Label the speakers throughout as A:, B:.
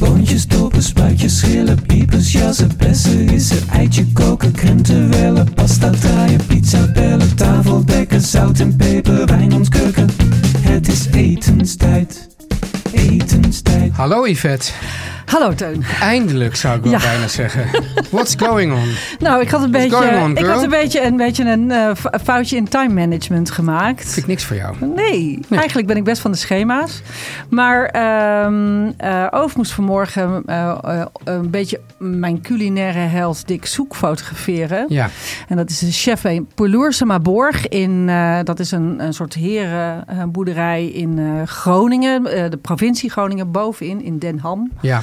A: Boontjes, dopen, spuitjes, schillen, piepers, jassen, bessen, rissen, eitje koken, krenten wellen, pasta draaien, pizza bellen, tafel dekken, zout en peper, wijn ontkurken. Het is etenstijd, etenstijd.
B: Hallo Yvette.
C: Hallo Teun.
B: Eindelijk zou ik wel
C: Ja.
B: bijna zeggen. What's going on?
C: Nou, ik had een
B: What's
C: beetje,
B: going on,
C: ik had
B: girl?
C: een, beetje een, beetje een eh, f- foutje in time management gemaakt.
B: Vind ik niks voor jou.
C: Nee, eigenlijk ben ik best van de schema's. Maar ehm eh, Oof moest vanmorgen eh, eh, een beetje mijn culinaire held Dick Soek fotograferen.
B: Ja,
C: En dat is de chef in Pouloursema Borg. In, eh, dat is een, een soort herenboerderij in eh, Groningen. eh, de provincie Groningen bovenin, in Den Ham.
B: ja.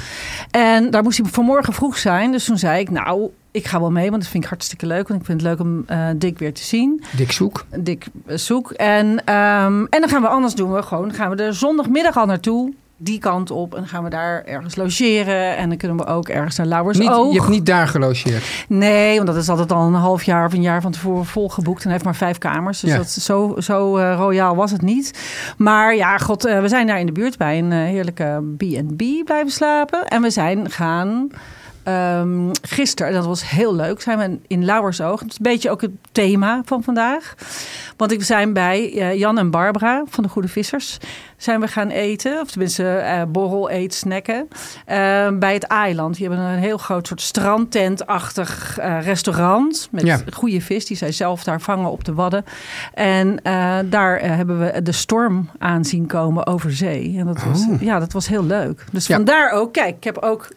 C: En daar moest hij vanmorgen vroeg zijn. Dus toen zei ik, nou, ik ga wel mee, want dat vind ik hartstikke leuk. Want ik vind het leuk om eh, Dick weer te zien.
B: Dick Zoek.
C: Dick eh, zoek. En, ehm, en dan gaan we anders doen. We gewoon, dan gaan we er zondagmiddag al naartoe. Die kant op. En dan gaan we daar ergens logeren. En dan kunnen we ook ergens naar Lauwers
B: Niet,
C: Oog.
B: je hebt niet daar gelogeerd.
C: Nee, want dat is altijd al een half jaar of een jaar van tevoren volgeboekt. En hij heeft maar vijf kamers. Dus
B: Ja.
C: dat, zo, zo eh, royaal was het niet. Maar ja, god, eh, we zijn daar in de buurt bij een eh, heerlijke B&B blijven slapen. En we zijn gaan... ehm gisteren, en dat was heel leuk, zijn we in Lauwersoog. Het is een beetje ook het thema van vandaag. Want ik zijn bij eh, Jan en Barbara van de Goede Vissers zijn we gaan eten. Of tenminste eh borrel, eet, snacken. eh, bij het eiland. Die hebben een heel groot soort strandtentachtig eh, restaurant. Met
B: Ja.
C: goede vis die zij zelf daar vangen op de Wadden. En eh, daar eh, hebben we de storm aan zien komen over zee. En dat was, Ja, dat was heel leuk. Dus
B: Oh. Ja.
C: vandaar ook, kijk, ik heb ook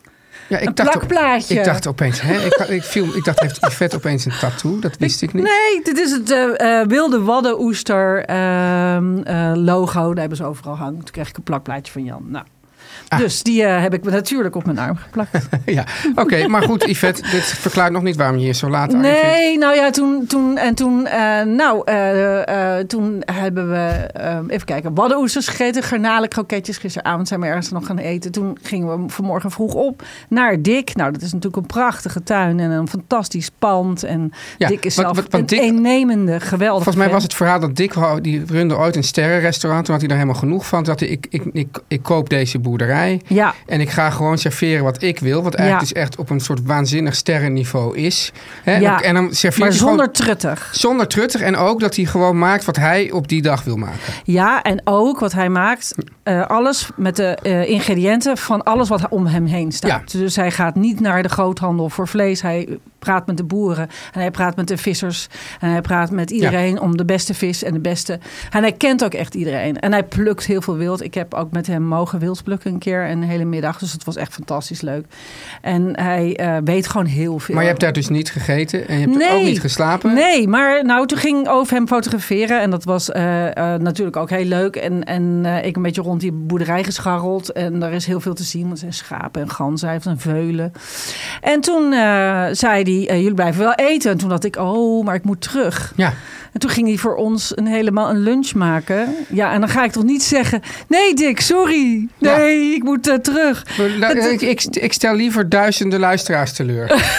B: Ja, ik
C: Een plakplaatje.
B: Ik dacht opeens, hè? Ik, ik, viel, ik dacht, heeft Yvette opeens een tattoo? Dat wist ik niet.
C: Nee, dit is het eh, eh, wilde waddenoester ehm, eh, logo. Daar hebben ze overal hangen. Toen kreeg ik een plakplaatje van Jan. Nou.
B: Ah.
C: Dus die eh, heb ik natuurlijk op mijn arm geplakt.
B: Ja, oké. maar goed, Yvette, dit verklaart nog niet waarom je hier zo laat aan vindt.
C: Nee, nou ja, toen, toen, en toen, eh, nou, eh, eh, toen hebben we, ehm, even kijken, waddenoesters gegeten, garnalenkroketjes. Gisteravond zijn we ergens nog gaan eten. Toen gingen we vanmorgen vroeg op naar Dick. Nou, dat is natuurlijk een prachtige tuin en een fantastisch pand. En
B: Ja,
C: Dick is
B: want-
C: zelf
B: want- want
C: een
B: Dick-
C: innemende, geweldige
B: Volgens mij
C: vent.
B: was het verhaal dat Dick wou- die runde ooit een sterrenrestaurant. Toen had hij daar helemaal genoeg van. Toen had hij, ik, ik, ik, ik koop deze boerderij.
C: Ja.
B: En ik ga gewoon serveren wat ik wil. Wat eigenlijk
C: Ja.
B: dus echt op een soort waanzinnig sterrenniveau is. Hè? En
C: Ja.
B: dan- En dan serveert
C: Maar
B: hij
C: zonder
B: gewoon-
C: truttig.
B: Zonder truttig en ook dat hij gewoon maakt wat hij op die dag wil maken.
C: Ja, en ook wat hij maakt, eh, alles met de eh, ingrediënten van alles wat om hem heen staat. Dus hij gaat niet naar de groothandel voor vlees. Hij praat met de boeren en hij praat met de vissers. En hij praat met iedereen om de beste vis en de beste. En hij kent ook echt iedereen. En hij plukt heel veel wild. Ik heb ook met hem mogen wild plukken een keer een hele middag. Dus het was echt fantastisch leuk. En hij eh, weet gewoon heel veel.
B: Maar je hebt daar dus niet gegeten en je hebt ook niet geslapen.
C: Nee, maar nou, toen ging over hem fotograferen. En dat was eh, eh, natuurlijk ook heel leuk. En, en eh, ik een beetje rond die boerderij gescharreld. En er is heel veel te zien. Want er zijn schapen en ganzen. Hij heeft een veulen. En toen eh, zei hij, eh, jullie blijven wel eten. En toen dacht ik, oh, maar ik moet terug.
B: Ja,
C: En toen ging hij voor ons een, helemaal een lunch maken. Ja, en dan ga ik toch niet zeggen... Nee, Dick, sorry. Nee, ik moet eh, terug.
B: Nou,
C: Het-
B: ik, ik, ik stel liever duizenden luisteraars teleur.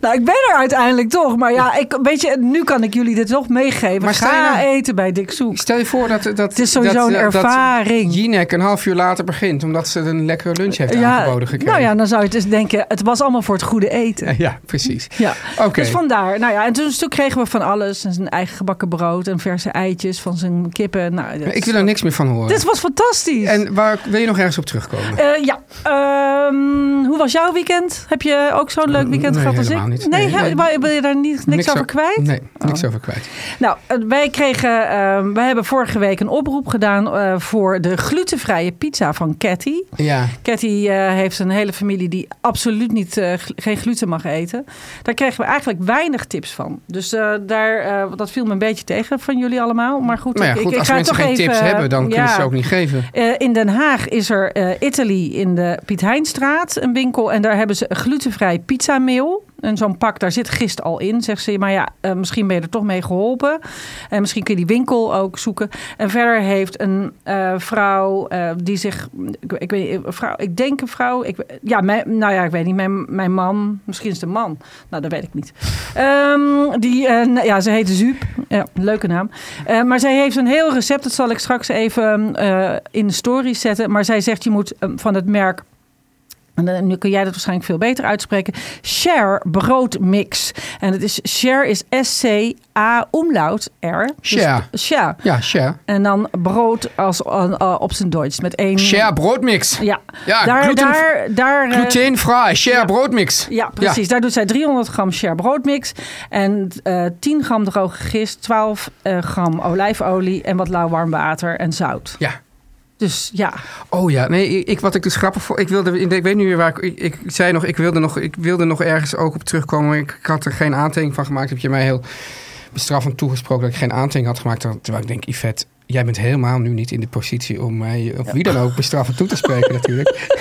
C: Nou, ik ben er uiteindelijk toch. Maar ja, ik, weet je, nu kan ik jullie dit nog meegeven.
B: Maar
C: Maar
B: sta je
C: ga
B: nou-
C: eten bij Dick Soek.
B: Stel je voor dat... dat
C: Het is sowieso
B: dat,
C: een
B: eh, dat
C: ervaring.
B: Jinek een half uur later begint omdat ze een lekkere lunch heeft aangeboden gekregen.
C: nou ja, dan zou je dus denken, het was allemaal voor het goede eten.
B: Ja, precies.
C: Ja,
B: Oké.
C: dus vandaar. Nou ja, en toen, toen kregen we van alles. En zijn eigen gebakken brood en verse eitjes van zijn kippen. Nou, dat-
B: Ik wil er niks meer van horen.
C: Dit was fantastisch.
B: En waar wil je nog ergens op terugkomen?
C: Eh, ja, Ehm, hoe was jouw weekend? Heb je ook zo'n leuk weekend
B: Nee,
C: gehad als ik?
B: helemaal helemaal niet.
C: Nee, he- wou- wil je daar niet, niks, over
B: o-
C: kwijt?
B: Nee, niks
C: Oh.
B: over kwijt.
C: Nou, eh, wij kregen, ehm, wij hebben vorige week een oproep gedaan eh, voor de glutenvrije pizza van Cathy.
B: Ja,
C: Cathy eh, heeft een hele familie die absoluut niet, eh, gl- geen gluten mag eten. Daar kregen we eigenlijk weinig tips van. Dus eh, daar, eh, dat viel me een beetje tegen van jullie allemaal. Maar goed,
B: maar Nou ja,
C: ik-
B: goed,
C: ik,
B: als
C: ik ga
B: mensen
C: toch
B: geen
C: even,
B: tips hebben, dan kunnen
C: ja.
B: ze ze ook niet geven.
C: Eh, in Den Haag is er eh Italy in de Piet Heinstraat, een winkel. En daar hebben ze glutenvrij pizzameel. En zo'n pak, daar zit gist al in, zegt ze. Maar ja, eh, misschien ben je er toch mee geholpen. En misschien kun je die winkel ook zoeken. En verder heeft een eh, vrouw eh, die zich... Ik, ik weet niet, een vrouw, ik denk een vrouw... Ik, ja, mijn, nou ja, ik weet niet. Mijn, mijn man, misschien is het een man. Nou, dat weet ik niet. Ehm, die, eh, nou ja, ze heet Zuup. Ja, leuke naam. Eh, maar zij heeft een heel recept. Dat zal ik straks even eh, in de story zetten. Maar zij zegt, je moet eh, van het merk... En dan- nu kun jij dat waarschijnlijk veel beter uitspreken. Share broodmix. En het is share is S-C-A omlaut R.
B: Share.
C: Dus, share.
B: Ja, share.
C: En dan brood als, aan- eh, op zijn Duits. Met één...
B: Share broodmix.
C: Ja.
B: Ja,
C: daar,
B: gluten-
C: daar, daar, eh,
B: Glutenvrij, share
C: ja.
B: broodmix.
C: ja, precies. Daar doet zij 300 gram share broodmix. En eh 10 gram droge gist, 12 eh, gram olijfolie en wat lauw warm water en zout.
B: Ja.
C: Dus ja,
B: Oh ja, nee, ik, ik- wat ik dus grappig vond, ik wilde, ik weet nu weer waar ik, ik, ik zei nog, ik wilde nog, ik wilde nog ergens ook op terugkomen, maar ik, ik had er geen aantekening van gemaakt. Heb je mij heel bestraffend toegesproken dat ik geen aantekening had gemaakt, terwijl ik denk, Yvette, jij bent helemaal nu niet in de positie om mij, of wie dan ook, bestraffend toe te spreken natuurlijk.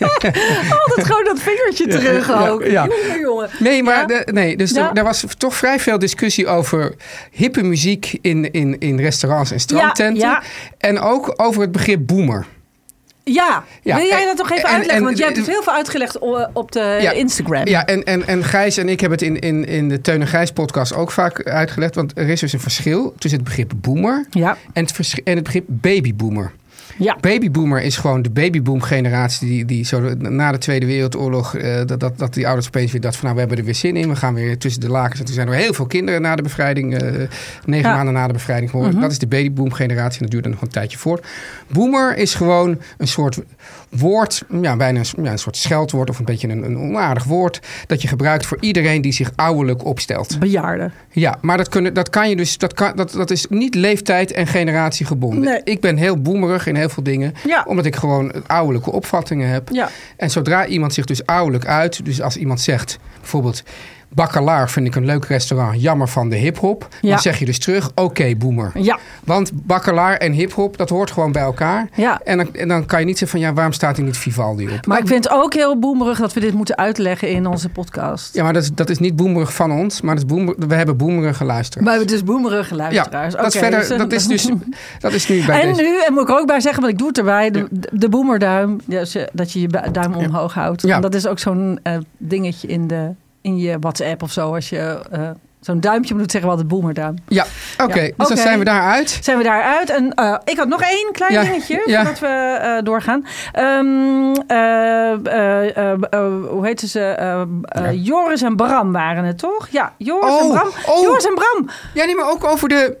C: altijd gewoon dat vingertje terug
B: ja,
C: ook.
B: ja.
C: Jongen, jongen.
B: Nee, maar
C: Ja.
B: de- nee, dus
C: Ja.
B: er, er was toch vrij veel discussie over hippe muziek in, in, in restaurants en strandtenten.
C: ja.
B: En ook over het begrip boomer.
C: Ja,
B: Ja,
C: wil jij
B: en-
C: dat nog even
B: en-
C: uitleggen?
B: en-
C: Want jij hebt het heel veel uitgelegd o- op de
B: Ja.
C: Instagram.
B: Ja, en, en, en Gijs en ik hebben het in, in, in de Teun en Gijs podcast ook vaak uitgelegd. Want er is dus een verschil tussen het begrip boomer
C: ja.
B: en het, versch- en het begrip babyboomer.
C: ja.
B: Babyboomer is gewoon de babyboom-generatie die, die zo na de Tweede Wereldoorlog, eh, dat, dat, dat die ouders opeens weer dachten van nou, we hebben er weer zin in. We gaan weer tussen de lakens. En toen zijn er heel veel kinderen na de bevrijding, eh, negen
C: Ja. Mhm.
B: maanden na de bevrijding geboren. Dat is de babyboom-generatie en dat duurde nog een tijdje voort. Boomer is gewoon een soort woord, ja, bijna een, s- ja, een soort scheldwoord of een beetje een, een onaardig woord, dat je gebruikt voor iedereen die zich ouderlijk opstelt.
C: Bejaarden.
B: Ja, maar dat, kunnen, dat kan je dus. Dat, kan, dat, dat is niet leeftijd en generatie gebonden.
C: Nee.
B: Ik ben heel boemerig in heel veel dingen.
C: Ja.
B: Omdat ik gewoon ouderlijke opvattingen heb.
C: Ja.
B: En zodra iemand zich dus ouderlijk uit. Dus als iemand zegt bijvoorbeeld. Bakkelaar vind ik een leuk restaurant. Jammer van de hip-hop.
C: Ja.
B: Dan zeg je dus terug: oké, boemer.
C: Ja.
B: Want bakkelaar en hip-hop, dat hoort gewoon bij elkaar.
C: Ja.
B: En, dan, en dan kan je niet zeggen: van ja, waarom staat er niet Vivaldi op?
C: Maar ik vind het ook heel boemerig dat we dit moeten uitleggen in onze podcast.
B: Ja, maar dat is, dat is niet boemerig van ons. Maar dat is boemer- we hebben boemerige luisteraars.
C: We hebben dus boemerige luisteraars.
B: Ja, dat, is
C: Oké,
B: verder,
C: dus-
B: dat is dus dat is nu bij
C: en
B: deze.
C: nu, en moet ik er ook bij zeggen, want ik doe het erbij, de, de boemerduim. Dus, eh, dat je je bu- duim omhoog houdt.
B: Ja.
C: En dat is ook zo'n eh, dingetje in, de, in je WhatsApp of zo. Als je eh, zo'n duimpje moet zeggen, we altijd boemerduim.
B: Ja, oké.
C: Ja,
B: Dus dan
C: oké.
B: zijn we daaruit.
C: Zijn we daaruit? En eh, ik had nog één klein
B: Ja,
C: dingetje
B: ja.
C: voordat we eh, doorgaan. Ehm, eh, eh, eh, eh, hoe heette ze? Eh, eh, Joris en Bram waren het, toch? Ja, Joris en
B: Oh,
C: Bram.
B: oh.
C: Joris en Bram.
B: Ja, nee, maar ook over de...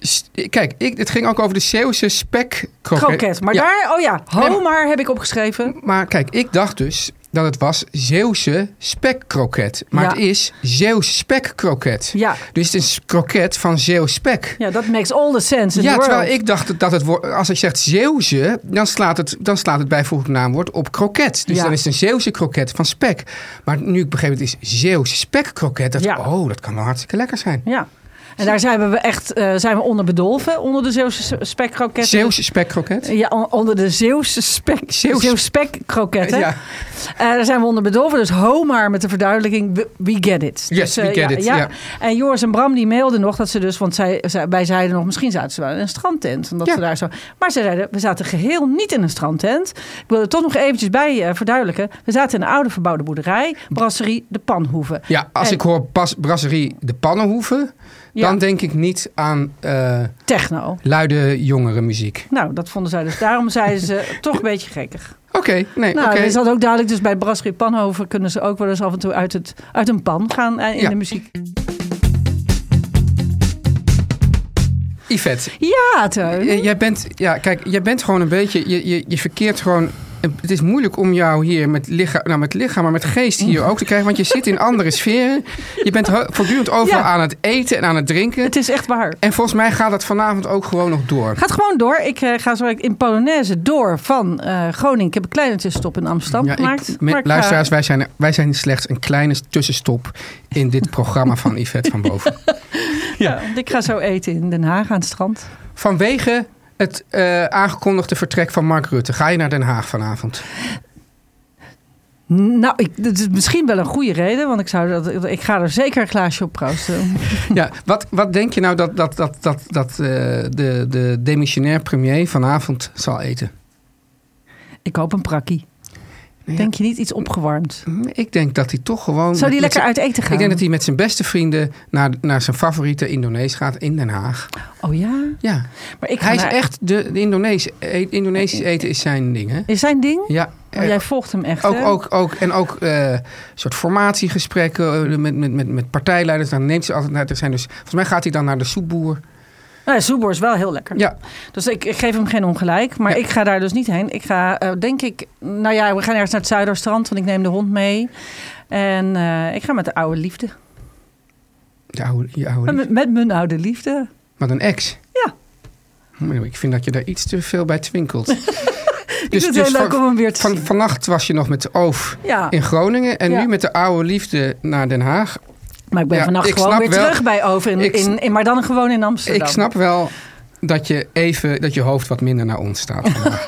B: s- Kijk, ik, het ging ook over de Zeeuwse spek
C: Kroket. Maar daar, oh ja, Homar heb ik opgeschreven.
B: Maar kijk, ik dacht dus dat het was Zeeuwse spekkroket. Maar
C: Ja.
B: het is Zeeuwse spekkroket.
C: Ja.
B: Dus het is kroket van Zeeuws spek.
C: Ja, dat makes all the sense in
B: Ja,
C: the world.
B: terwijl ik dacht dat het woord, als ik zeg Zeeuwse, dan slaat het, dan slaat het bijvoeglijk naamwoord op kroket. Dus
C: Ja.
B: dan is het een Zeeuwse kroket van spek. Maar nu ik begreep het is Zeeuwse spekkroket, dat,
C: Ja.
B: oh, dat kan wel hartstikke lekker zijn.
C: Ja. En daar zijn we echt eh, zijn we onder bedolven, onder de Zeeuwse spekkroketten.
B: Zeeuwse spekkroket?
C: Ja, on- onder de Zeeuwse spek,
B: Zeeuws-
C: Zeeuws spekkroketten.
B: Ja.
C: Eh, daar zijn we onder bedolven. Dus Homar met de verduidelijking, we, we get it.
B: Yes,
C: eh,
B: we get it, ja.
C: En Joris en Bram die mailden nog dat ze dus, want zij, zij- wij zeiden nog, misschien zaten ze wel in een strandtent. Omdat
B: Ja.
C: ze daar zo, maar ze zeiden, we zaten geheel niet in een strandtent. Ik wil er toch nog eventjes bij eh, verduidelijken. We zaten in een oude verbouwde boerderij, brasserie De Panhoeve.
B: Ja, als
C: En-
B: ik hoor bas, brasserie de pannenhoeven,
C: Ja.
B: dan denk ik niet aan eh,
C: Techno.
B: luide jongerenmuziek.
C: Nou, dat vonden zij dus. Daarom zeiden ze toch een beetje gekkig.
B: Oké, nee,
C: Nou,
B: oké.
C: is dat ook duidelijk. Dus bij Brasserie Panhoven kunnen ze ook wel eens af en toe uit, het, uit een pan gaan eh, in
B: Ja.
C: de muziek.
B: Yvette,
C: Ja, Teun.
B: Eh, Jij bent, ja, kijk, jij bent gewoon een beetje, je, je, je verkeert gewoon het is moeilijk om jou hier met lichaam, nou met lichaam, maar met geest hier ook te krijgen. Want je zit in andere sferen. Je bent he- voortdurend overal
C: Ja.
B: aan het eten en aan het drinken.
C: Het is echt waar.
B: En volgens mij gaat dat vanavond ook gewoon nog door.
C: Gaat gewoon door. Ik eh, ga zo direct in Polonaise door van eh, Groningen. Ik heb een kleine tussenstop in Amsterdam
B: Ja, ik-
C: gemaakt.
B: me-
C: maar ik ga-
B: luisteraars, wij zijn, wij zijn slechts een kleine tussenstop in dit programma van Yvette van Boven.
C: ja, want ik ga zo eten in Den Haag aan het strand.
B: Vanwege het eh, aangekondigde vertrek van Mark Rutte, ga je naar Den Haag vanavond?
C: Nou, ik, dat is misschien wel een goede reden, want ik, zou dat, ik ga er zeker een glaasje op proosten.
B: Ja, wat, wat denk je nou dat, dat, dat, dat, dat eh, de, de demissionair premier vanavond zal eten?
C: ik hoop een prakkie. Denk je niet iets opgewarmd?
B: Hm, Ik denk dat hij toch gewoon.
C: Zou
B: met-
C: die
B: met
C: lekker uit eten
B: zijn-
C: gaan?
B: Ik denk dat hij met zijn beste vrienden naar, naar zijn favoriete Indonees gaat in Den Haag.
C: Oh ja?
B: Ja,
C: Maar ik ga
B: hij is
C: naar-
B: echt. De, de Indonees, eh, Indonesisch eten is zijn ding, hè?
C: Is zijn ding?
B: Ja. eh,
C: Oh, jij volgt hem echt,
B: Ook,
C: hè?
B: ook, ook, en ook eh soort formatiegesprekken eh, met, met, met, met partijleiders. Dan neemt ze altijd naar. Er zijn dus, volgens mij gaat hij dan naar de soepboer.
C: Nou, Soeboer is wel heel lekker.
B: Ja,
C: Dus ik, ik geef hem geen ongelijk. Maar
B: Ja.
C: ik ga daar dus niet heen. Ik ga, eh, denk ik... Nou ja, we gaan ergens naar het Zuiderstrand. Want ik neem de hond mee. En eh, ik ga met de oude liefde.
B: je oude, je oude lief.
C: Met, met mijn oude liefde.
B: Wat een ex.
C: Ja.
B: Nou, Ik vind dat je daar iets te veel bij twinkelt. dus,
C: ik vind het heel leuk
B: van,
C: om hem weer te
B: van-
C: zien.
B: vannacht was je nog met de oof
C: Ja,
B: in Groningen. En
C: Ja.
B: nu met de oude liefde naar Den Haag.
C: maar ik ben
B: ja,
C: vannacht
B: ik
C: gewoon
B: snap
C: weer
B: wel-
C: terug bij over. In,
B: ik
C: in, in- maar dan gewoon in Amsterdam.
B: Ik snap wel dat je even dat je hoofd wat minder naar ons staat. vandaag.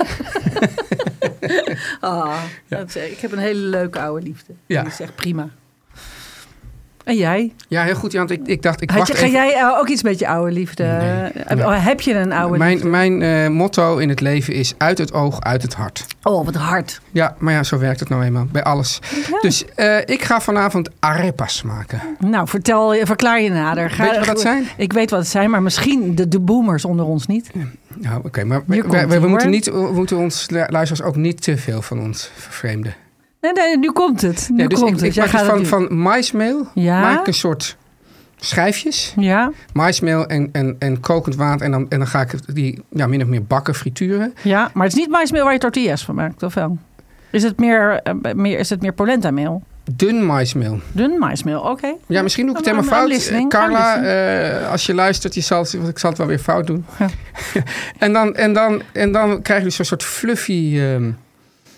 C: Ah,
B: Ja.
C: dat is- ik heb een hele leuke oude liefde.
B: Ja.
C: Die is echt prima. En jij?
B: ja, heel goed, Jan. Ik, ik dacht, ik
C: Had
B: wacht
C: je, ga
B: even.
C: jij eh, ook iets met je oude liefde?
B: Nee.
C: Eh, oh, Heb je een oude liefde?
B: Mijn, mijn eh, motto in het leven is uit het oog, uit het hart.
C: Oh, wat hard.
B: Ja, maar ja, zo werkt het nou eenmaal bij alles. Dus eh, ik ga vanavond arepas maken.
C: Nou, vertel, je- verklaar je nader.
B: Weet je wat dat zijn?
C: Ik weet wat het zijn, maar misschien de, de boomers onder ons niet.
B: Nou, oké, maar we,
C: Hier komt
B: we- we
C: ie,
B: moeten,
C: hoor.
B: niet, we moeten ons lu- luisteraars ook niet te veel van ons vervreemden.
C: Nee, nee, nu komt het. Nu
B: Ja, dus
C: komt
B: ik,
C: het.
B: ik
C: Jij
B: maak dus
C: gaat
B: van,
C: het
B: van maismeel
C: Ja?
B: maak ik een soort schijfjes.
C: doen. Ja,
B: Maismeel en, en, en kokend water. En dan, en dan ga ik het die ja, min of meer bakken, frituren.
C: ja, maar het is niet maismeel waar je tortillas van maakt, of wel? Is het meer, eh, meer, is het meer polenta meel?
B: Dun maismeel.
C: Dun maismeel, oké.
B: Ja, misschien doe ik het helemaal
C: I'm- I'm
B: fout.
C: listening,
B: Eh,
C: I'm
B: Carla, eh, als je luistert, je zal, want ik zal het wel weer fout doen.
C: Ja.
B: en, dan, en, dan, en dan krijg je dus zo'n soort fluffy ehm,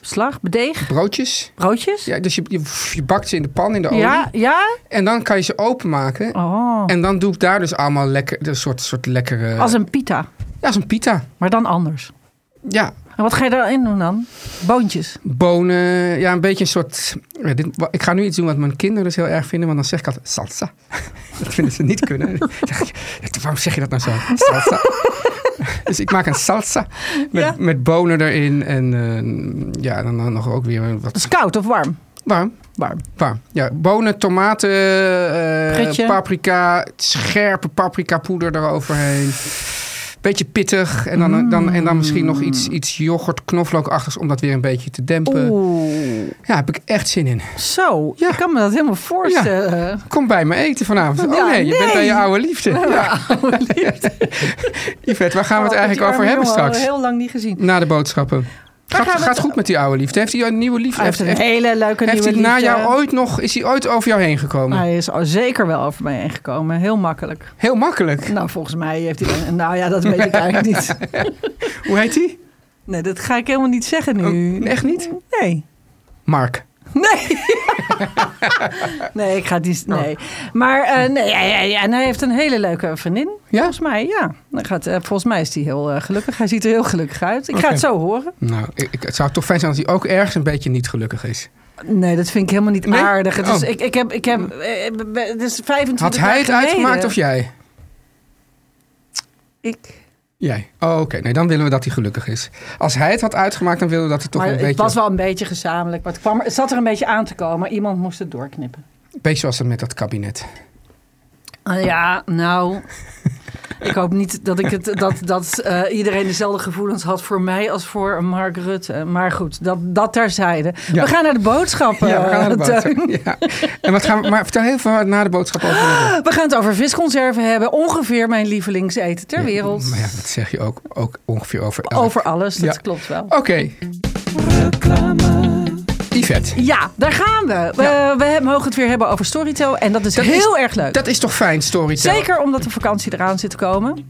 C: Slag, bedeeg,
B: broodjes.
C: broodjes.
B: Ja, dus je, je, je bakt ze in de pan, in de olie.
C: ja, ja?
B: En dan kan je ze openmaken.
C: Oh,
B: En dan doe ik daar dus allemaal lekker, een soort, soort lekkere...
C: als een pita,
B: ja, als een pita.
C: maar dan anders.
B: Ja,
C: En wat ga je daarin doen dan? Boontjes.
B: bonen. Ja, een beetje een soort... ja, dit- wa- ik ga nu iets doen wat mijn kinderen dus heel erg vinden. Want dan zeg ik altijd salsa. dat vinden ze niet kunnen. Dan zeg ik, "Ja, waarom zeg je dat nou zo? Salsa. dus ik maak een salsa. Met,
C: Ja.
B: met bonen erin. En eh, ja, dan, dan nog ook weer
C: Dat is
B: wat...
C: koud of warm?
B: Warm.
C: Warm.
B: Warm. Ja, bonen, tomaten, eh,
C: Pretje.
B: paprika, scherpe paprikapoeder eroverheen. Beetje pittig. En dan,
C: Mm.
B: dan, en dan misschien nog iets, iets yoghurt, knoflookachtigs om dat weer een beetje te dempen.
C: Oeh.
B: Ja, heb ik echt zin in.
C: Zo,
B: eh, Ja.
C: ik kan me dat helemaal voorstellen.
B: Kom bij me eten vanavond.
C: Ja,
B: oh nee, je bent
C: nee.
B: bij je oude liefde. Ja. Yvette, waar gaan
C: Oh,
B: we het eigenlijk over hebben straks?
C: eh, heel lang niet gezien.
B: Na de boodschappen. Gaat,
C: gaan we
B: gaat
C: het-
B: goed met die oude liefde? Heeft hij een nieuwe liefde?
C: Hij heeft een
B: heeft,
C: hele leuke
B: heeft
C: nieuwe
B: hij na
C: liefde.
B: jou ooit nog, is hij ooit over jou heen gekomen?
C: Hij is al zeker wel over mij heen gekomen. Heel makkelijk.
B: Heel makkelijk.
C: Nou, volgens mij heeft hij... Nou ja, dat weet ik eigenlijk niet.
B: Hoe heet hij?
C: Nee, dat ga ik helemaal niet zeggen nu.
B: Oh, echt niet?
C: Nee.
B: Mark.
C: Nee. nee, ik ga die...
B: Oh.
C: Nee. Maar eh, nee, ja, ja, ja. en hij heeft een hele leuke vriendin.
B: Ja?
C: Volgens mij, ja. Hij gaat, eh, volgens mij is hij heel eh, gelukkig. Hij ziet er heel gelukkig uit. Ik
B: Oké.
C: ga het zo horen.
B: Nou, ik, ik- het zou toch fijn zijn als hij ook ergens een beetje niet gelukkig is.
C: Nee, dat vind ik helemaal niet
B: Nee?
C: aardig. Het is,
B: Oh.
C: ik, ik heb, ik heb, eh, eh, het is 25
B: Had hij
C: jaar
B: het
C: geleden.
B: uitgemaakt of jij?
C: Ik.
B: Jij. Oh, oké. Nee, dan willen we dat hij gelukkig is. Als hij het had uitgemaakt, dan willen we dat hij toch
C: maar
B: een
C: het
B: beetje...
C: was wel een beetje gezamenlijk. Maar het, kwam, er- het zat er een beetje aan te komen. Iemand moest het doorknippen.
B: Beetje zoals dat met dat kabinet.
C: Ah, ja, nou. ik hoop niet dat, ik het, dat, dat eh, iedereen dezelfde gevoelens had voor mij als voor Mark Rutte. Maar goed, dat, dat terzijde.
B: Ja.
C: We gaan naar de boodschappen.
B: Ja, we gaan naar de
C: eh, Teun.
B: boodschap. Ja. En wat gaan we, maar vertel heel veel waar- na de boodschap over. hebben.
C: We gaan het over visconserven hebben. Ongeveer mijn lievelingseten ter wereld.
B: Maar ja, Oh. dat zeg je ook, ook ongeveer over elk.
C: Over alles, dat
B: Ja.
C: klopt wel.
B: Oké. Yvette.
C: Ja, daar gaan we. We, we he- mogen het weer hebben over Storytel. En dat is
B: Dat
C: heel
B: is-
C: erg leuk.
B: Dat is toch fijn, storytelling?
C: Zeker omdat de vakantie eraan zit te komen.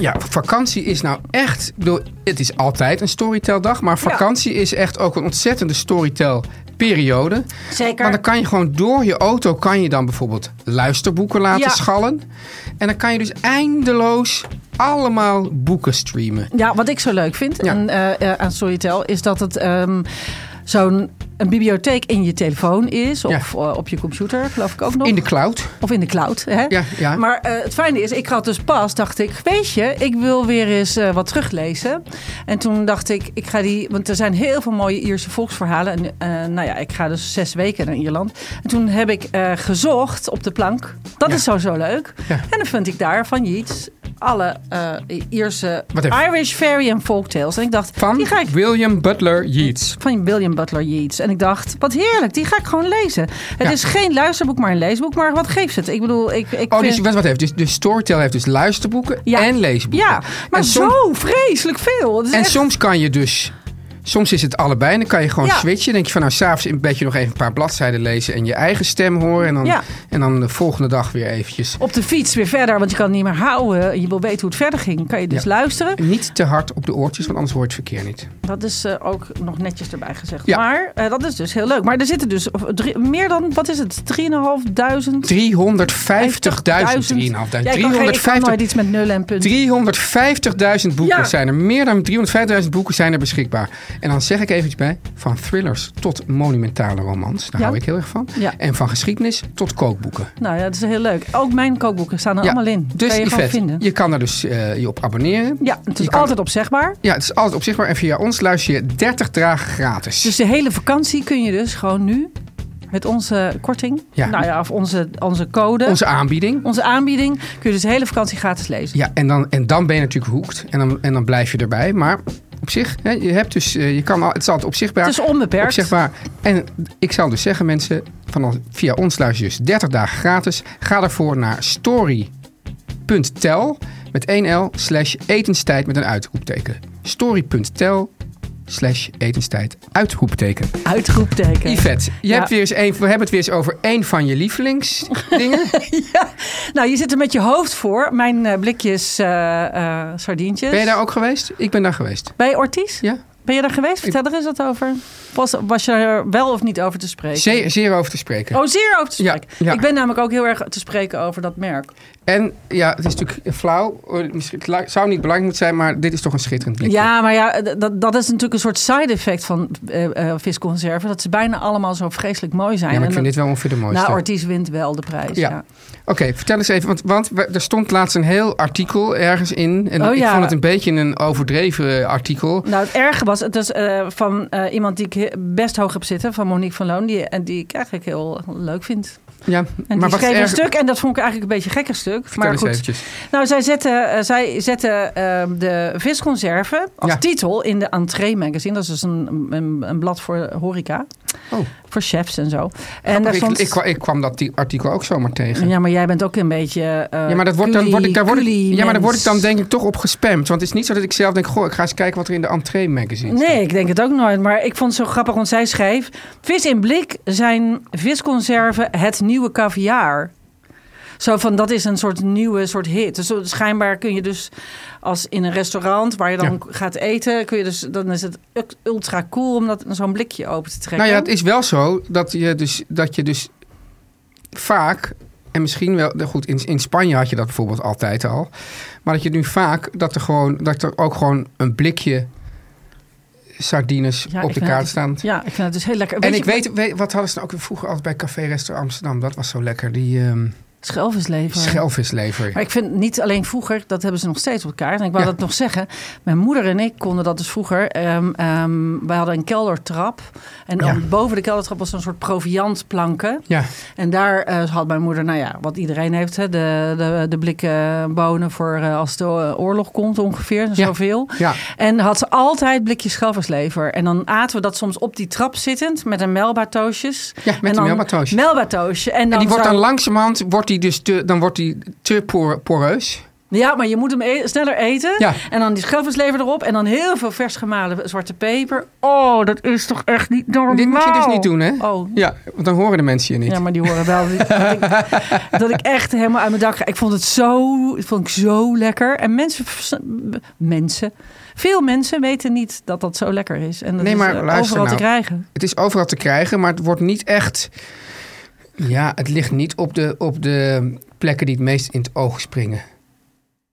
B: Ja, vakantie is nou echt... Ik bedoel, het is altijd een storyteldag, maar vakantie is echt ook een ontzettende storytelperiode.
C: Zeker.
B: Want dan kan je gewoon door je auto, kan je dan bijvoorbeeld luisterboeken laten
C: Ja.
B: schallen. En dan kan je dus eindeloos allemaal boeken streamen.
C: Ja, wat ik zo leuk vind
B: Ja.
C: aan, eh, eh, aan Storytel is dat het ehm, zo'n een bibliotheek in je telefoon is. Of eh, op je computer, geloof ik ook nog.
B: In de cloud.
C: Of in de cloud. Hè?
B: Ja, ja.
C: Maar eh, het fijne is, ik had dus pas, dacht ik, weet je, ik wil weer eens eh, wat teruglezen. En toen dacht ik, ik ga die, want er zijn heel veel mooie Ierse volksverhalen. En eh, nou ja, ik ga dus zes weken naar Ierland. En toen heb ik eh, gezocht op de plank. Dat is sowieso leuk.
B: Ja.
C: En dan vind ik daar van Yeats alle eh, Ierse
B: Wat even.
C: Irish fairy en folktales. En ik dacht,
B: Van
C: die ga ik
B: William Butler Yeats.
C: van William Butler Yeats. En ik dacht, wat heerlijk, die ga ik gewoon lezen. Het
B: Ja.
C: is geen luisterboek, maar een leesboek. Maar wat geeft het? Ik bedoel, ik, ik
B: Oh,
C: vind...
B: dus wat, wat heeft dus, dus Storytel heeft dus luisterboeken
C: Ja.
B: en leesboeken.
C: Ja, maar
B: En soms-
C: zo vreselijk veel. Het is
B: En
C: echt-
B: soms kan je dus... Soms is het allebei en dan kan je gewoon
C: Ja.
B: switchen. Dan denk je van nou, s'avonds in bedje nog even een paar bladzijden lezen... en je eigen stem horen. En dan,
C: Ja.
B: en dan de volgende dag weer eventjes
C: Op de fiets weer verder, want je kan het niet meer houden. En Je wil weten hoe het verder ging. Kan je dus
B: Ja.
C: luisteren.
B: Niet te hard op de oortjes, want anders hoort het verkeer niet.
C: Dat is eh, ook nog netjes erbij gezegd.
B: Ja.
C: Maar eh, dat is dus heel leuk. Maar er zitten dus of, drie- meer dan, wat is het,
B: 350.000,
C: 3.500?
B: 3.500,
C: Ja, ik kan geen- ik kan nooit
B: 350.000
C: iets met nullen en punten.
B: 350.000 boeken
C: Ja.
B: zijn er. Meer dan 350.000 boeken zijn er beschikbaar. En dan zeg ik eventjes bij, van thrillers tot monumentale romans. Daar
C: Ja.
B: hou ik heel erg van.
C: Ja.
B: En van geschiedenis tot kookboeken.
C: Nou ja, dat is heel leuk. Ook mijn kookboeken staan er
B: Ja,
C: allemaal in.
B: Dus
C: kan je gewoon
B: Yvette,
C: vinden.
B: je kan er dus eh, je op abonneren.
C: Ja, het is
B: je kan-
C: altijd opzegbaar.
B: Ja, het is altijd opzichtbaar. En via ons luister je 30 dagen gratis.
C: Dus de hele vakantie kun je dus gewoon nu met onze korting,
B: Ja.
C: nou ja, of onze, onze code,
B: Onze aanbieding.
C: onze aanbieding, kun je dus de hele vakantie gratis lezen.
B: Ja, en dan, en dan ben je natuurlijk hoekt. En dan, en dan blijf je erbij. Maar op zich, hè, je hebt dus, eh, je kan al, het is altijd opzichtbaar.
C: Het is onbeperkt.
B: Opzichtbaar. En ik zou dus zeggen, mensen, vanaf, via ons luister je dus 30 dagen gratis. Ga daarvoor naar story.tel met 1L slash etenstijd met een uitroepteken. Story.tel slash etenstijd uitroepteken.
C: Uitroepteken.
B: Yvette, je
C: Ja.
B: hebt weer eens een, we hebben het weer eens over één van je lievelingsdingen.
C: Ja. Nou, je zit er met je hoofd voor. Mijn eh, blikjes eh, eh, sardientjes.
B: ben je daar ook geweest? Ik ben daar geweest.
C: Bij Ortiz?
B: Ja?
C: Ben je daar geweest? Vertel er eens wat over. Was, was je er wel of niet over te spreken?
B: Zeer, zeer over te spreken.
C: Oh, zeer over te
B: Ja,
C: spreken.
B: ja.
C: Ik ben namelijk ook heel erg te spreken over dat merk.
B: En ja, het is natuurlijk flauw. eh, Misschien, het lu- zou niet belangrijk moeten zijn, maar dit is toch een schitterend blikje.
C: Ja, maar ja, d- dat, dat is natuurlijk een soort side effect van eh eh, visconserven. Dat ze bijna allemaal zo vreselijk mooi zijn.
B: Ja, maar ik
C: En
B: vind dit
C: dat-
B: wel ongeveer de mooiste.
C: Nou, Ortiz wint wel de prijs.
B: Ja.
C: Ja.
B: Oké, vertel eens even, want, want we- er stond laatst een heel artikel ergens in. En
C: Oh,
B: ik
C: ja.
B: vond het een beetje een overdreven eh, artikel.
C: Nou, het erge was, het is eh, van eh, iemand die ik he- best hoog heb zitten, van Monique van Loon, die, en die ik eigenlijk heel leuk vind.
B: Ja,
C: En
B: maar
C: die
B: was
C: schreef een
B: erg-
C: stuk en dat vond ik eigenlijk een beetje een gekker stuk.
B: Vertel
C: maar
B: eens
C: goed.
B: eventjes.
C: Nou, zij zette, eh, zij zette eh, de visconserve als
B: Ja.
C: titel in de Entree magazine. Dat is dus een, een, een blad voor horeca,
B: Oh,
C: voor chefs en zo. En
B: en
C: daar
B: ik,
C: stond-
B: ik, kwa- ik kwam dat die artikel ook zomaar tegen. Ja.
C: Ja, maar jij bent ook een beetje. eh,
B: maar, dat wordt dan, word ik, daar, word ik,
C: coolie
B: ja, maar daar word ik dan
C: mens.
B: denk ik toch op gespamd. Want het is niet zo dat ik zelf denk... goh, ik ga eens kijken wat er in de Entree magazine staat.
C: Nee, ik denk het ook nooit. Maar ik vond het zo grappig, want zij schreef... Vis in blik zijn visconserven het nieuwe caviar. Zo van, dat is een soort nieuwe soort hit. Dus schijnbaar kun je dus als in een restaurant waar je dan gaat eten... Kun je dus, dan is het u- ultra cool om dat zo'n blikje open te trekken.
B: Nou ja, het is wel zo dat je dus, dat je dus vaak, en misschien wel, nou goed, in, in Spanje had je dat bijvoorbeeld altijd al, maar dat je nu vaak, dat er, gewoon, dat er ook gewoon een blikje sardines
C: Ja,
B: op
C: ik
B: de
C: vind
B: kaart
C: het-
B: staan.
C: Ja, ik vind het dus heel lekker.
B: En
C: je
B: ik weet, weet, wat hadden ze nou ook vroeger altijd bij Café Restaurant Amsterdam? Dat was zo lekker, die ehm
C: wat? Schelvislever.
B: schelvislever.
C: Maar ik vind niet alleen vroeger, dat hebben ze nog steeds op de kaart. En ik wou
B: Ja.
C: dat nog zeggen. Mijn moeder en ik konden dat dus vroeger. ehm ehm, wij hadden een keldertrap. En
B: Ja.
C: dan boven de keldertrap was een soort proviantplanken.
B: Ja,
C: En daar eh, had mijn moeder, nou ja, wat iedereen heeft. Hè, de, de, de blikken bonen voor eh, als de eh, oorlog komt ongeveer.
B: Ja.
C: Zoveel.
B: Ja.
C: En had ze altijd blikjes schelvislever. En dan aten we dat soms op die trap zittend met een melbatoosjes.
B: Ja, met
C: En
B: een
C: dan-
B: melbatoosje.
C: Melbatoosje. En, dan
B: en die wordt
C: zo-
B: dan langzamerhand wordt die dus te, dan wordt die te por- poreus.
C: Ja, maar je moet hem e- sneller eten.
B: Ja.
C: En dan die schelvislever erop. En dan heel veel vers gemalen zwarte peper. Oh, dat is toch echt niet normaal.
B: Dit moet je dus niet doen, hè?
C: Oh,
B: Ja, want dan horen de mensen je niet.
C: ja, maar die horen wel dat ik, dat ik echt helemaal uit mijn dak ga. Ik vond het zo, ik vond ik zo lekker. En mensen, vers- mensen, veel mensen weten niet dat dat zo lekker is. En dat
B: Nee,
C: is
B: maar
C: eh,
B: luister
C: overal
B: nou.
C: te krijgen.
B: Het is overal te krijgen, maar het wordt niet echt... Ja, het ligt niet op de, op de plekken die het meest in het oog springen.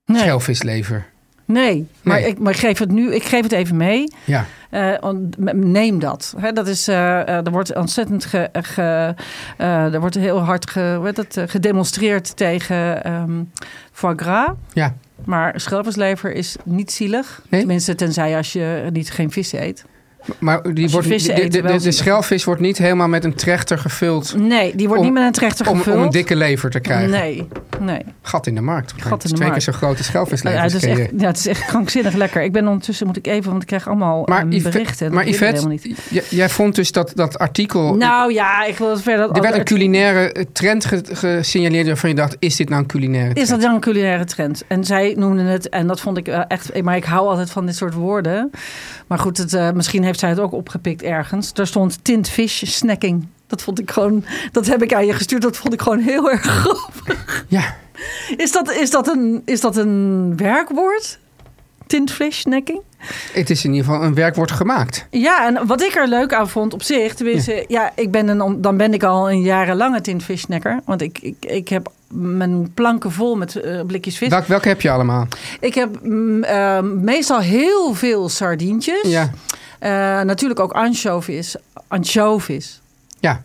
C: Nee,
B: Schelvislever.
C: nee. Maar,
B: Nee.
C: Ik, maar ik geef het nu, ik geef het even mee.
B: Ja.
C: Eh, on- m- neem dat. Hè, dat is, eh, eh, er wordt ontzettend ge, ge- eh, er wordt heel hard ge, hoe heet dat, eh, gedemonstreerd tegen ehm foie gras.
B: Ja.
C: Maar schelvislever is niet zielig.
B: Nee?
C: Tenminste, tenzij als je niet geen vis eet.
B: Maar die
C: je
B: wordt,
C: vissen
B: de,
C: eet,
B: de, de,
C: wel
B: de
C: zielig.
B: schelvis wordt niet helemaal met een trechter gevuld...
C: Nee, die wordt
B: Om-
C: niet met een trechter
B: Om,
C: gevuld.
B: om een dikke lever te krijgen.
C: Nee, nee.
B: Gat in de markt.
C: in
B: Het is
C: de
B: twee
C: markt.
B: keer zo groot als schelvislever.
C: ja, het, is
B: ken je.
C: echt, ja, het is echt krankzinnig lekker. Ik ben ondertussen, moet ik even, want ik krijg allemaal
B: maar
C: ehm,
B: Yvette-
C: berichten. Dat
B: maar
C: wil ik
B: Yvette,
C: helemaal niet.
B: j- jij vond dus dat, dat artikel...
C: Nou ja, ik wil het verder...
B: er werd een
C: het-
B: culinaire eh, trend ge- gesignaleerd waarvan je dacht... is dit nou een culinaire
C: Is
B: trend?
C: dat dan een culinaire trend? En zij noemden het, en dat vond ik eh, echt. Maar ik hou altijd van dit soort woorden. Maar goed, het, eh, misschien heeft zij het ook opgepikt ergens. Daar stond tintfish snacking. Dat vond ik gewoon. Dat heb ik aan je gestuurd. Dat vond ik gewoon heel erg grappig.
B: Ja,
C: Is dat, is dat, een, is dat een werkwoord? Tintfish snacking?
B: het is in ieder geval een werkwoord gemaakt.
C: Ja, en wat ik er leuk aan vond op zich, tenminste, ja, ik ben een, dan ben ik al een jarenlange tintfishsnacker. Want ik, ik, ik heb mijn planken vol met eh, blikjes vis.
B: Welk, welke heb je allemaal?
C: Ik heb mm, eh, meestal heel veel sardientjes.
B: Ja,
C: Eh, natuurlijk ook anchovies. Anchovies.
B: ja.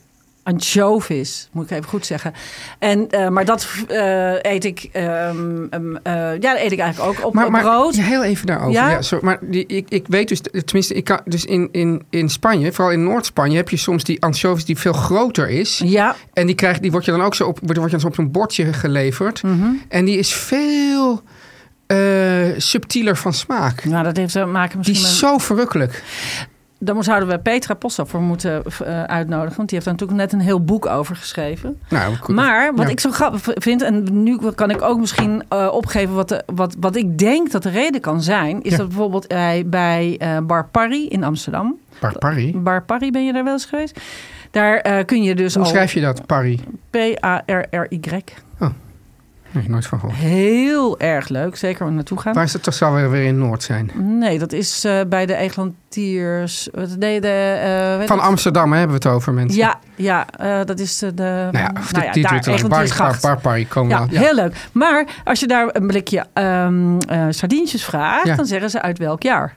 C: Anchovies, moet ik even goed zeggen. En, eh, maar dat eh, eet ik. ehm, ehm, eh, ja, dat eet ik eigenlijk ook op
B: Maar,
C: op
B: maar
C: brood.
B: ja, heel even daarover. Ja?
C: Ja?
B: sorry, maar die, ik, ik weet dus, tenminste, ik kan, dus in, in, in Spanje, vooral in Noord-Spanje, heb je soms die anchovies die veel groter is.
C: Ja,
B: En die, krijg, die wordt je dan ook zo op, wordt wordt je dan zo op zo'n bordje geleverd. En die is veel eh, subtieler van smaak.
C: nou, dat heeft te maken
B: Die
C: misschien met...
B: is zo verrukkelijk.
C: Daar zouden we Petra Possa voor moeten eh, uitnodigen. Want die heeft daar natuurlijk net een heel boek over geschreven.
B: Nou, goed.
C: Maar wat
B: Ja.
C: ik zo grappig v- vind, en nu kan ik ook misschien eh, opgeven wat, de, wat, wat ik denk dat de reden kan zijn, is
B: Ja.
C: dat bijvoorbeeld bij, bij eh, Bar Parry in Amsterdam.
B: Par- Parry?
C: Bar Parry ben je daar wel eens geweest? Daar eh, kun je dus
B: Hoe
C: al
B: schrijf je dat, Parry?
C: P-A-R-R-Y.
B: Nee, nooit van gehoord.
C: Heel erg leuk, zeker om naartoe gaan.
B: Waar is dat toch zou weer, weer in Noord zijn?
C: Nee, dat is eh, bij de Eglantiers. Wat nee, de, eh, weet
B: Van
C: het?
B: Amsterdam hè, hebben we het over, mensen.
C: Ja, ja eh, dat is de. de
B: Nou ja, of de titel
C: daar,
B: is dan Bar- Bar-
C: Egelantiersgracht.
B: Bar- Parry komen
C: Ja,
B: we- eh, ja.
C: heel leuk. Maar als je daar een blikje ehm, eh, sardientjes vraagt,
B: Ja.
C: dan zeggen ze uit welk jaar.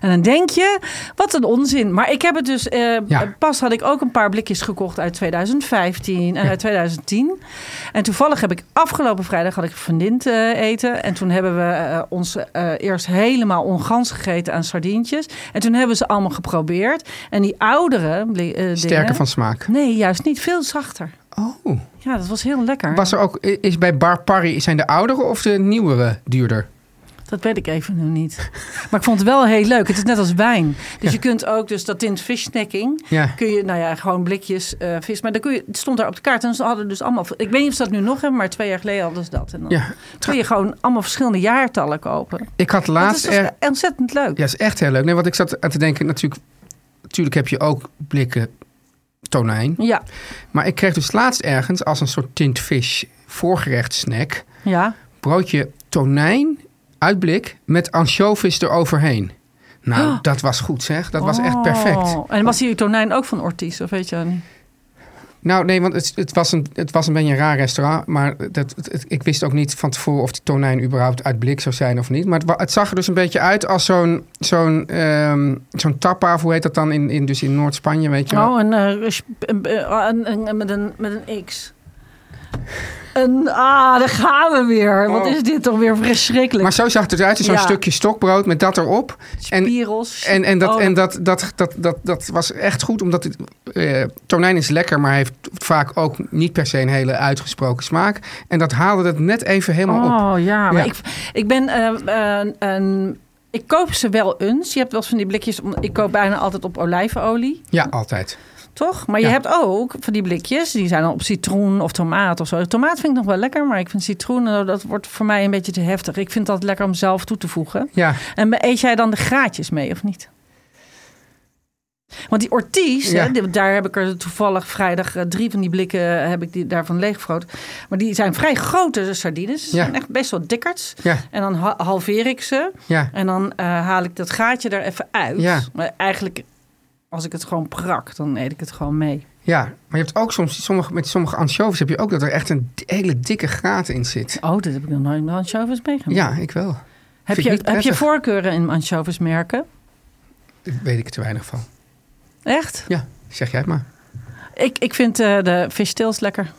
C: En dan denk je, wat een onzin. Maar ik heb het dus, eh,
B: Ja.
C: pas had ik ook een paar blikjes gekocht uit 2015 en
B: Ja.
C: uit 2010. En toevallig heb ik afgelopen vrijdag had ik vriendin eh, eten. En toen hebben we eh, ons eh, eerst helemaal ongans gegeten aan sardientjes. En toen hebben ze allemaal geprobeerd. En die oudere bli- eh,
B: Sterker
C: dingen-
B: van smaak.
C: Nee, juist niet. Veel zachter.
B: Oh.
C: Ja, dat was heel lekker.
B: Was er ook, is bij Bar Parry, zijn de oudere of de nieuwere duurder?
C: Dat weet ik even nu niet. Maar ik vond het wel heel leuk. Het is net als wijn. Dus je kunt ook, dus dat tint vissnacking.
B: Ja.
C: Kun je, nou ja, gewoon blikjes eh, vis. Maar dan kun je, het stond daar op de kaart. En ze hadden dus allemaal. Ik weet niet of ze dat nu nog hebben, maar twee jaar geleden hadden ze dat. En dan
B: Ja.
C: kun je gewoon allemaal verschillende jaartallen kopen.
B: Ik had
C: Dat
B: laatst...
C: is dus
B: er,
C: ontzettend leuk.
B: Ja, is echt heel leuk. Nee, want ik zat aan te denken, natuurlijk, natuurlijk heb je ook blikken tonijn.
C: Ja,
B: Maar ik kreeg dus laatst ergens als een soort tintfish voorgerechtsnack
C: ja.
B: broodje tonijn uitblik met anchovies eroverheen. Nou,
C: Oh.
B: dat was goed zeg. Dat was echt perfect.
C: Oh. En was die tonijn ook van Ortiz, of weet je wel niet?
B: Nou, nee, want het, het, was, een, het was een beetje een raar restaurant. Maar dat, het- het- ik wist ook niet van tevoren of die tonijn überhaupt uit blik zou zijn of niet. Maar het, wa- het zag er dus een beetje uit als zo'n zo'n ehm, zo'n tapa, of hoe heet dat dan, in, in, dus in Noord-Spanje, weet je wel.
C: Oh, een, eh, sp- een- eh, een- een- een- met, een, met een X. Een, ah, daar gaan we weer. Wat
B: Oh.
C: is dit toch weer verschrikkelijk.
B: Maar zo zag het eruit. Dus zo'n
C: Oh, Ja.
B: stukje stokbrood met dat erop. en-
C: Spirals.
B: En, en, dat,
C: Oh,
B: en dat, dat, dat, dat, dat was echt goed, omdat het, eh, tonijn is lekker, maar heeft vaak ook niet per se een hele uitgesproken smaak. En dat haalde het net even helemaal op.
C: Oh ja, maar
B: Ja.
C: Ik, ik ben eh, een- een- ik koop ze wel eens. Je hebt wel eens van die blikjes. om- Ik koop bijna altijd op olijfolie.
B: Ja, altijd.
C: Toch? Maar
B: Ja.
C: je hebt ook van die blikjes, die zijn dan op citroen of tomaat of zo. Tomaat vind ik nog wel lekker, maar ik vind citroen, eh, dat wordt voor mij een beetje te heftig. Ik vind dat lekker om zelf toe te voegen.
B: Ja,
C: En eet jij dan de graatjes mee of niet? Want die orties,
B: Ja.
C: hè, die- daar heb ik er toevallig vrijdag eh, drie van die blikken heb ik die daarvan leeggevroot. Maar die zijn vrij grote de sardines. Ze
B: Ja.
C: zijn echt best wel dikkerts.
B: ja,
C: En dan ha- halveer ik ze.
B: ja.
C: En dan eh, haal ik dat gaatje er even uit.
B: Ja.
C: Maar eigenlijk, als ik het gewoon prak, dan eet ik het gewoon mee.
B: Ja, maar je hebt ook soms sommige, met sommige anchovies heb je ook dat er echt een di- hele dikke graat in zit.
C: Oh, dat heb ik nog nooit met anchovies meegemaakt.
B: Ja, ik wel.
C: heb,
B: vind ik
C: je,
B: niet
C: heb je
B: prettig.
C: voorkeuren in anchovismerken?
B: Daar weet ik te weinig van.
C: Echt?
B: Ja, zeg jij het maar.
C: Ik, ik vind eh, de fishtails lekker.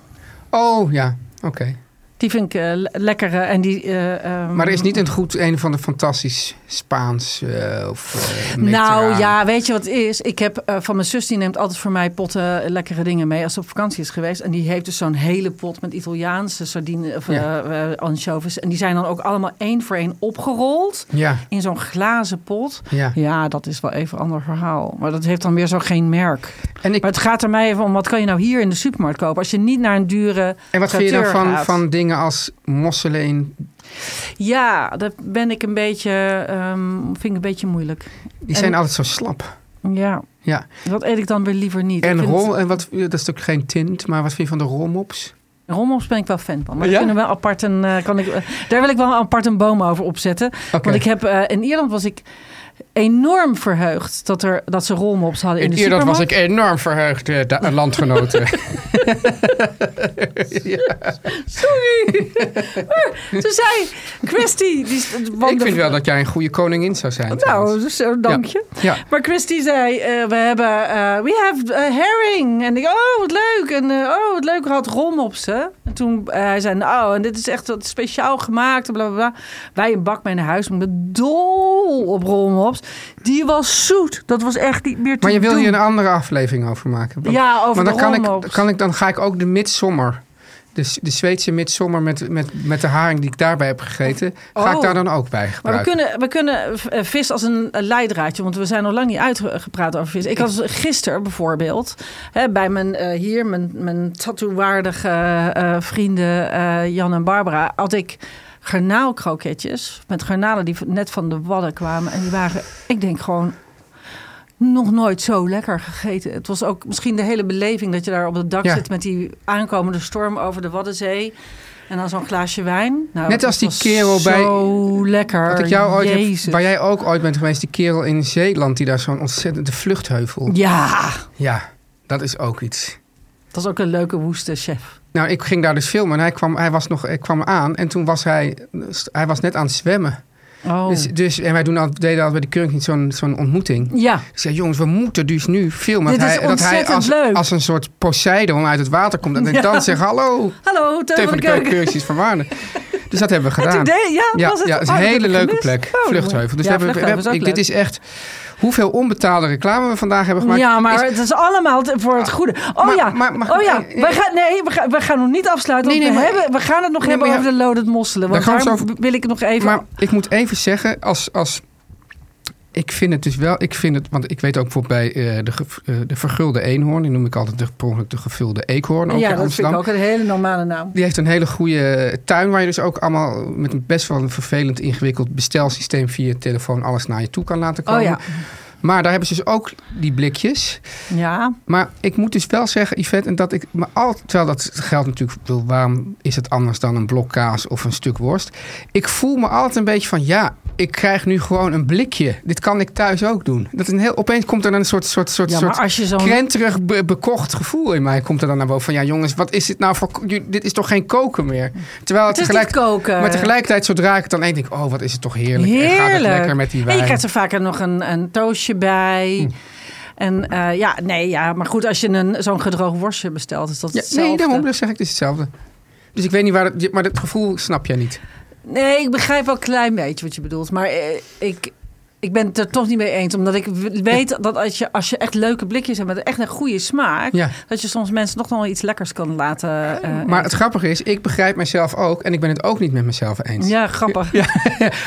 B: Oh ja, oké.
C: Die vind ik eh, le- lekker. eh, en die, eh, ehm,
B: Maar er is niet een goed een van de fantastisch Spaans eh, of eh,
C: Nou
B: mediterraan.
C: ja, weet je wat het is? Ik heb eh, van mijn zus, die neemt altijd voor mij potten eh, lekkere dingen mee als ze op vakantie is geweest. En die heeft dus zo'n hele pot met Italiaanse sardine of
B: Ja.
C: eh, eh, anchovies. En die zijn dan ook allemaal één voor één opgerold
B: Ja,
C: in zo'n glazen pot.
B: ja.
C: Ja, dat is wel even een ander verhaal. Maar dat heeft dan weer zo geen merk.
B: En, ik,
C: Maar het gaat er mij even om, wat kan je nou hier in de supermarkt kopen? Als je niet naar een dure...
B: en wat vind je nou
C: traiteur
B: van,
C: gaat.
B: van dingen als mosselen in...
C: Ja, dat ben ik een beetje... ehm, vind ik een beetje moeilijk.
B: Die zijn
C: En-
B: altijd zo slap.
C: Ja,
B: Ja.
C: dat eet ik dan weer liever niet.
B: En
C: Ik vind-
B: rol, en wat, dat is natuurlijk geen tint, maar wat vind je van de rolmops?
C: Rommel's ben ik wel fan van. Maar
B: Ja?
C: daar kunnen we apart een, eh, kan ik, eh, daar wil ik wel een apart een boom over opzetten.
B: Oké.
C: Want ik heb, eh, in Ierland was ik enorm verheugd dat, er, dat ze rolmops hadden in,
B: In
C: de
B: Ierland was
C: supermarkt.
B: ik enorm verheugd, eh, da- landgenoten.
C: Sorry! Maar Toen zei Christy... Die, want
B: ik
C: de-
B: vind wel dat jij een goede koningin zou zijn.
C: Nou,
B: trouwens.
C: dus, eh, dank je.
B: Ja.
C: Maar Christy zei, eh, we hebben, eh, we have a herring. En ik, oh, wat leuk. En eh, oh, wat leuk, had rom op ze. En toen, eh, hij zei, nou, en dit is echt wat speciaal gemaakt. en Bla, bla, bla. Wij een bak mee naar huis, maar ik ben dol op rolmops. Die was zoet. Dat was echt niet meer te
B: Maar je wil
C: doen.
B: hier een andere aflevering over maken. Want-
C: Ja, over
B: want
C: de
B: dan kan ik,
C: rolmops.
B: dan kan ik, dan ga ik ook de midsommer. Dus de Zweedse midsommer met, met, met de haring die ik daarbij heb gegeten, ga ik
C: Oh.
B: daar dan ook bij
C: Maar we
B: gebruiken.
C: kunnen, we kunnen eh, vis als een eh, leidraadje, want we zijn nog lang niet uitgepraat over vis. Ik had gisteren bijvoorbeeld hè, bij mijn, eh, hier, mijn, mijn tattoowaardige eh, vrienden eh, Jan en Barbara, had ik garnaalkroketjes met garnalen die net van de wadden kwamen. En die waren, ik denk gewoon nog nooit zo lekker gegeten. Het was ook misschien de hele beleving dat je daar op het dak
B: Ja.
C: zit met die aankomende storm over de Waddenzee. En dan zo'n glaasje wijn. Nou,
B: Net als die
C: dat was
B: kerel bij-
C: Zo lekker.
B: Wat ik jou ooit heb-
C: Jezus.
B: waar jij ook ooit bent geweest, die kerel in Zeeland die daar zo'n ontzettende vluchtheuvel.
C: Ja,
B: Ja, dat is ook iets.
C: dat is ook een leuke woeste chef.
B: Nou, ik ging daar dus filmen en hij kwam, hij was nog, hij kwam aan en toen was hij, hij was net aan het zwemmen.
C: Oh.
B: Dus, dus, en wij doen al, deden altijd bij de Keuring niet zo'n zo'n ontmoeting.
C: ja,
B: Ik zei, jongens, we moeten dus nu filmen.
C: Dit
B: dat
C: is
B: hij, dat hij
C: ontzettend
B: als,
C: leuk.
B: als een soort Poseidon uit het water komt. En ik
C: Ja.
B: dan zeg, hallo,
C: hallo, Teun
B: Teun
C: van de
B: Keuring,
C: Keuken.
B: Cursus van Waarde. Dus dat hebben we
C: En toen
B: gedaan.
C: deed- ja,
B: Ja,
C: was het,
B: ja, het is
C: oh,
B: een
C: dat
B: hele
C: heb ik
B: leuke
C: gemist.
B: plek.
C: Oh,
B: Vluchtheuvel. Dus we
C: ja,
B: hebben, we
C: Vluchtheuvel is
B: hebben-
C: ook
B: ik- dit
C: leuk.
B: is echt hoeveel onbetaalde reclame we vandaag hebben gemaakt.
C: ja, maar
B: is- Ah.
C: het is allemaal t- voor het goede. Oh
B: Maar-
C: ja,
B: maar- mag ik-
C: oh ja.
B: eh, eh,
C: we gaan, nee, we gaan, we gaan nog niet afsluiten.
B: Nee,
C: want
B: nee,
C: we,
B: maar-
C: hebben, we gaan het nog
B: Nee,
C: hebben
B: maar ja,
C: over de lodend mosselen.
B: daar
C: Want
B: gaan
C: daar
B: we het
C: wil ik nog even...
B: maar ik moet even zeggen, als, als, ik vind het dus wel, ik vind het, want ik weet ook bijvoorbeeld bij eh, de, ge- eh, de vergulde eenhoorn, die noem ik altijd de, per ongeluk de gevulde eekhoorn, ook in
C: ja, dat vind
B: Amsterdam.
C: ik ook een hele normale naam.
B: Die heeft een hele goede tuin waar je dus ook allemaal met een best wel een vervelend ingewikkeld bestelsysteem via je telefoon alles naar je toe kan laten komen.
C: Oh ja.
B: Maar daar hebben ze dus ook die blikjes.
C: Ja,
B: Maar ik moet dus wel zeggen, Yvette, en dat ik me altijd, terwijl dat geldt natuurlijk, ik bedoel, waarom is het anders dan een blok kaas of een stuk worst? Ik voel me altijd een beetje van, ja, ik krijg nu gewoon een blikje. Dit kan ik thuis ook doen. Dat is een heel, opeens komt er dan een soort, soort, soort,
C: ja
B: soort
C: maar als je zo'n...
B: krenterig be- bekocht gevoel in mij komt er dan naar boven van ja jongens wat is dit nou voor ko- ju- dit is toch geen koken meer terwijl
C: Het is
B: tegelijk,
C: niet koken.
B: maar tegelijkertijd zodra ik het dan eet denk ik oh wat is het toch heerlijk en gaat het
C: Heerlijk.
B: lekker met die
C: En
B: wijn
C: je krijgt er vaker nog een, een toastje bij.
B: Hm.
C: En eh, ja, nee, ja, maar goed, als je een, zo'n gedroogd worstje bestelt, is dat
B: ja,
C: hetzelfde.
B: nee daarom dus zeg ik het is hetzelfde dus ik weet niet waar het, maar dat gevoel snap jij niet
C: Nee, ik begrijp wel een klein beetje wat je bedoelt. Maar eh, ik, ik ben het er toch niet mee eens. Omdat ik w- weet dat als je, als je echt leuke blikjes hebt met echt een goede smaak...
B: Ja.
C: dat je soms mensen nog wel iets lekkers kan laten... eh,
B: Maar het grappige is, ik begrijp mezelf ook en ik ben het ook niet met mezelf eens.
C: ja, grappig.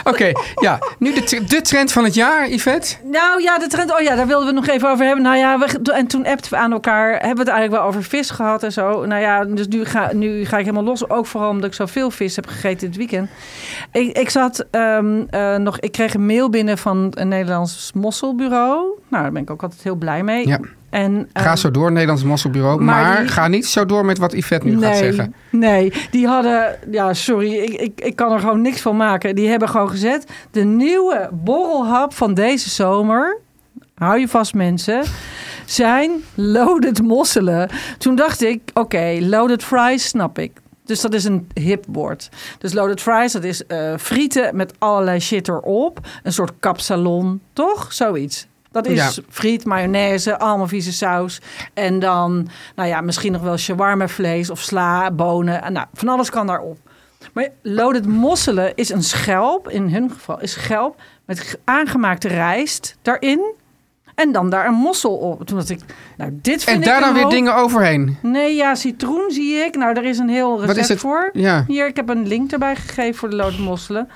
B: Oké, ja. Nu de, tr- de trend van het jaar, Yvette.
C: Nou ja, de trend. Oh ja, daar wilden we het nog even over hebben. Nou ja, we, en toen appten we aan elkaar. Hebben we het eigenlijk wel over vis gehad en zo. Nou ja, dus nu ga, nu ga ik helemaal los. Ook vooral omdat ik zoveel vis heb gegeten dit weekend. Ik, ik zat ehm, eh, nog. Ik kreeg een mail binnen van een Nederlands mosselbureau. Nou, daar ben ik ook altijd heel blij mee.
B: Ja.
C: En,
B: Ga
C: ehm,
B: zo door, Nederlands Mosselbureau. Maar,
C: maar die-
B: ga niet zo door met wat Yvette nu gaat zeggen.
C: Nee, die hadden... Ja, sorry, ik, ik, ik kan er gewoon niks van maken. Die hebben gewoon gezet... de nieuwe borrelhap van deze zomer... hou je vast mensen... zijn loaded mosselen. Toen dacht ik, oké, loaded fries snap ik. Dus dat is een hip woord. Dus loaded fries, dat is eh, frieten met allerlei shit erop. Een soort kapsalon, toch? Zoiets. Dat is
B: Ja.
C: friet, mayonaise, allemaal vieze saus. En dan, nou ja, misschien nog wel shawarma vlees of sla, bonen. En nou, van alles kan daarop. Maar loaded mosselen is een schelp, in hun geval is schelp met g- aangemaakte rijst daarin. En dan daar een mossel op. Toen dacht ik, nou dit vind
B: En
C: ik
B: daar dan
C: een
B: weer
C: hoop-
B: dingen overheen.
C: Nee, ja, citroen zie ik. Nou, daar is een heel recept
B: is het?
C: voor.
B: Ja.
C: Hier, ik heb een link erbij gegeven voor de loodmosselen.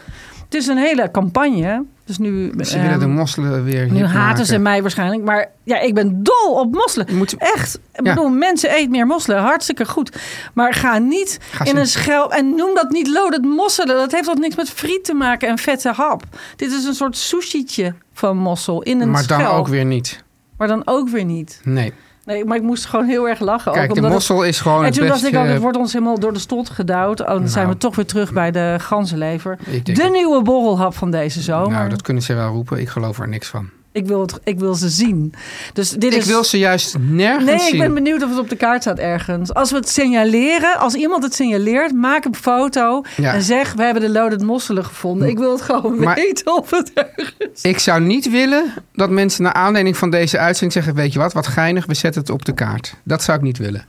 C: Het is een hele campagne. Dus nu,
B: Ze
C: ehm,
B: willen de mosselen weer
C: nu
B: hip
C: haten
B: maken.
C: ze mij waarschijnlijk. Maar ja, ik ben dol op mosselen.
B: Je moet-
C: Echt. Ik
B: Ja.
C: bedoel, mensen eet meer mosselen. Hartstikke goed. Maar ga niet in
B: ze-
C: een schelp... En noem dat niet loaded mosselen. Dat heeft dat niks met friet te maken en vette hap. Dit is een soort sushietje van mossel in een
B: Maar dan
C: schelp.
B: ook weer niet.
C: Maar dan ook weer niet.
B: Nee.
C: Nee, maar ik moest gewoon heel erg lachen.
B: Kijk,
C: ook
B: de
C: omdat het-
B: mossel is gewoon
C: en
B: het
C: toen dacht
B: beste...
C: ik ook, het wordt ons helemaal door de strot gedouwd. Oh, dan zijn
B: Nou.
C: we toch weer terug bij de ganzenlever.
B: Ik denk
C: De
B: het.
C: nieuwe borrelhap van deze zomer.
B: Nou, dat kunnen ze wel roepen. Ik geloof er niks van.
C: ik, wil het, ik wil ze zien. Dus dit
B: Ik
C: is...
B: wil ze juist nergens
C: Nee,
B: zien.
C: ik ben benieuwd of het op de kaart staat ergens. Als we het signaleren, als iemand het signaleert, maak een foto
B: Ja.
C: en zeg: We hebben de loaded mosselen gevonden. Ik wil het gewoon
B: Maar-
C: weten of het ergens.
B: Ik zou niet willen dat mensen naar aanleiding van deze uitzending zeggen... weet je wat, wat geinig, we zetten het op de kaart. Dat zou ik niet willen.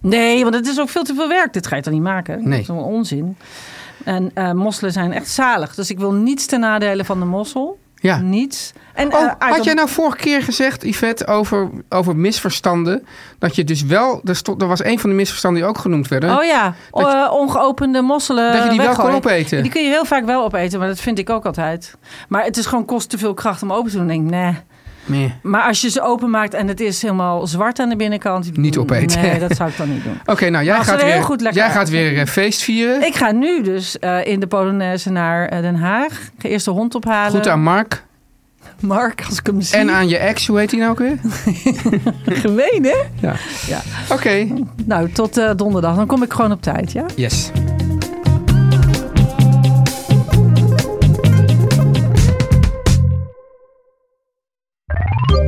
C: Nee, want het is ook veel te veel werk. Dit ga je dan niet maken.
B: Nee.
C: Dat is wel onzin. En eh, mosselen zijn echt zalig. Dus ik wil niets ten nadele van de mossel.
B: Ja.
C: Niets. En, eh,
B: Ah. Oh,
C: uit
B: had
C: dat-
B: jij nou vorige keer gezegd, Yvette, over, over misverstanden... dat je dus wel... Er, stond, er was een van de misverstanden die ook genoemd werden.
C: Oh ja,
B: nou- Dat
C: eh, ongeopende mosselen.
B: dat je die wel
C: weggooien.
B: kon opeten.
C: Die kun je heel vaak wel opeten, maar dat vind ik ook altijd. Maar het is gewoon kost te veel kracht om open te doen. Dan denk ik, nee.
B: Nee.
C: Maar als je ze openmaakt en het is helemaal zwart aan de binnenkant.
B: Niet opeten.
C: Nee, dat zou ik dan niet doen.
B: Oké, nou, jij,
C: Maar ze
B: gaat
C: zijn
B: weer,
C: heel goed lekker
B: jij
C: uit.
B: gaat weer eh, feest vieren.
C: Ik ga nu dus eh, in de Polonaise naar eh, Den Haag. Ik ga eerst de hond ophalen.
B: Goed aan Mark.
C: Mark, als ik hem zie.
B: En aan je ex, hoe heet die nou ook weer?
C: Gemeen, hè?
B: Ja.
C: Ja.
B: Oké,
C: Nou, tot eh, donderdag. Dan kom ik gewoon op tijd, ja?
B: yes.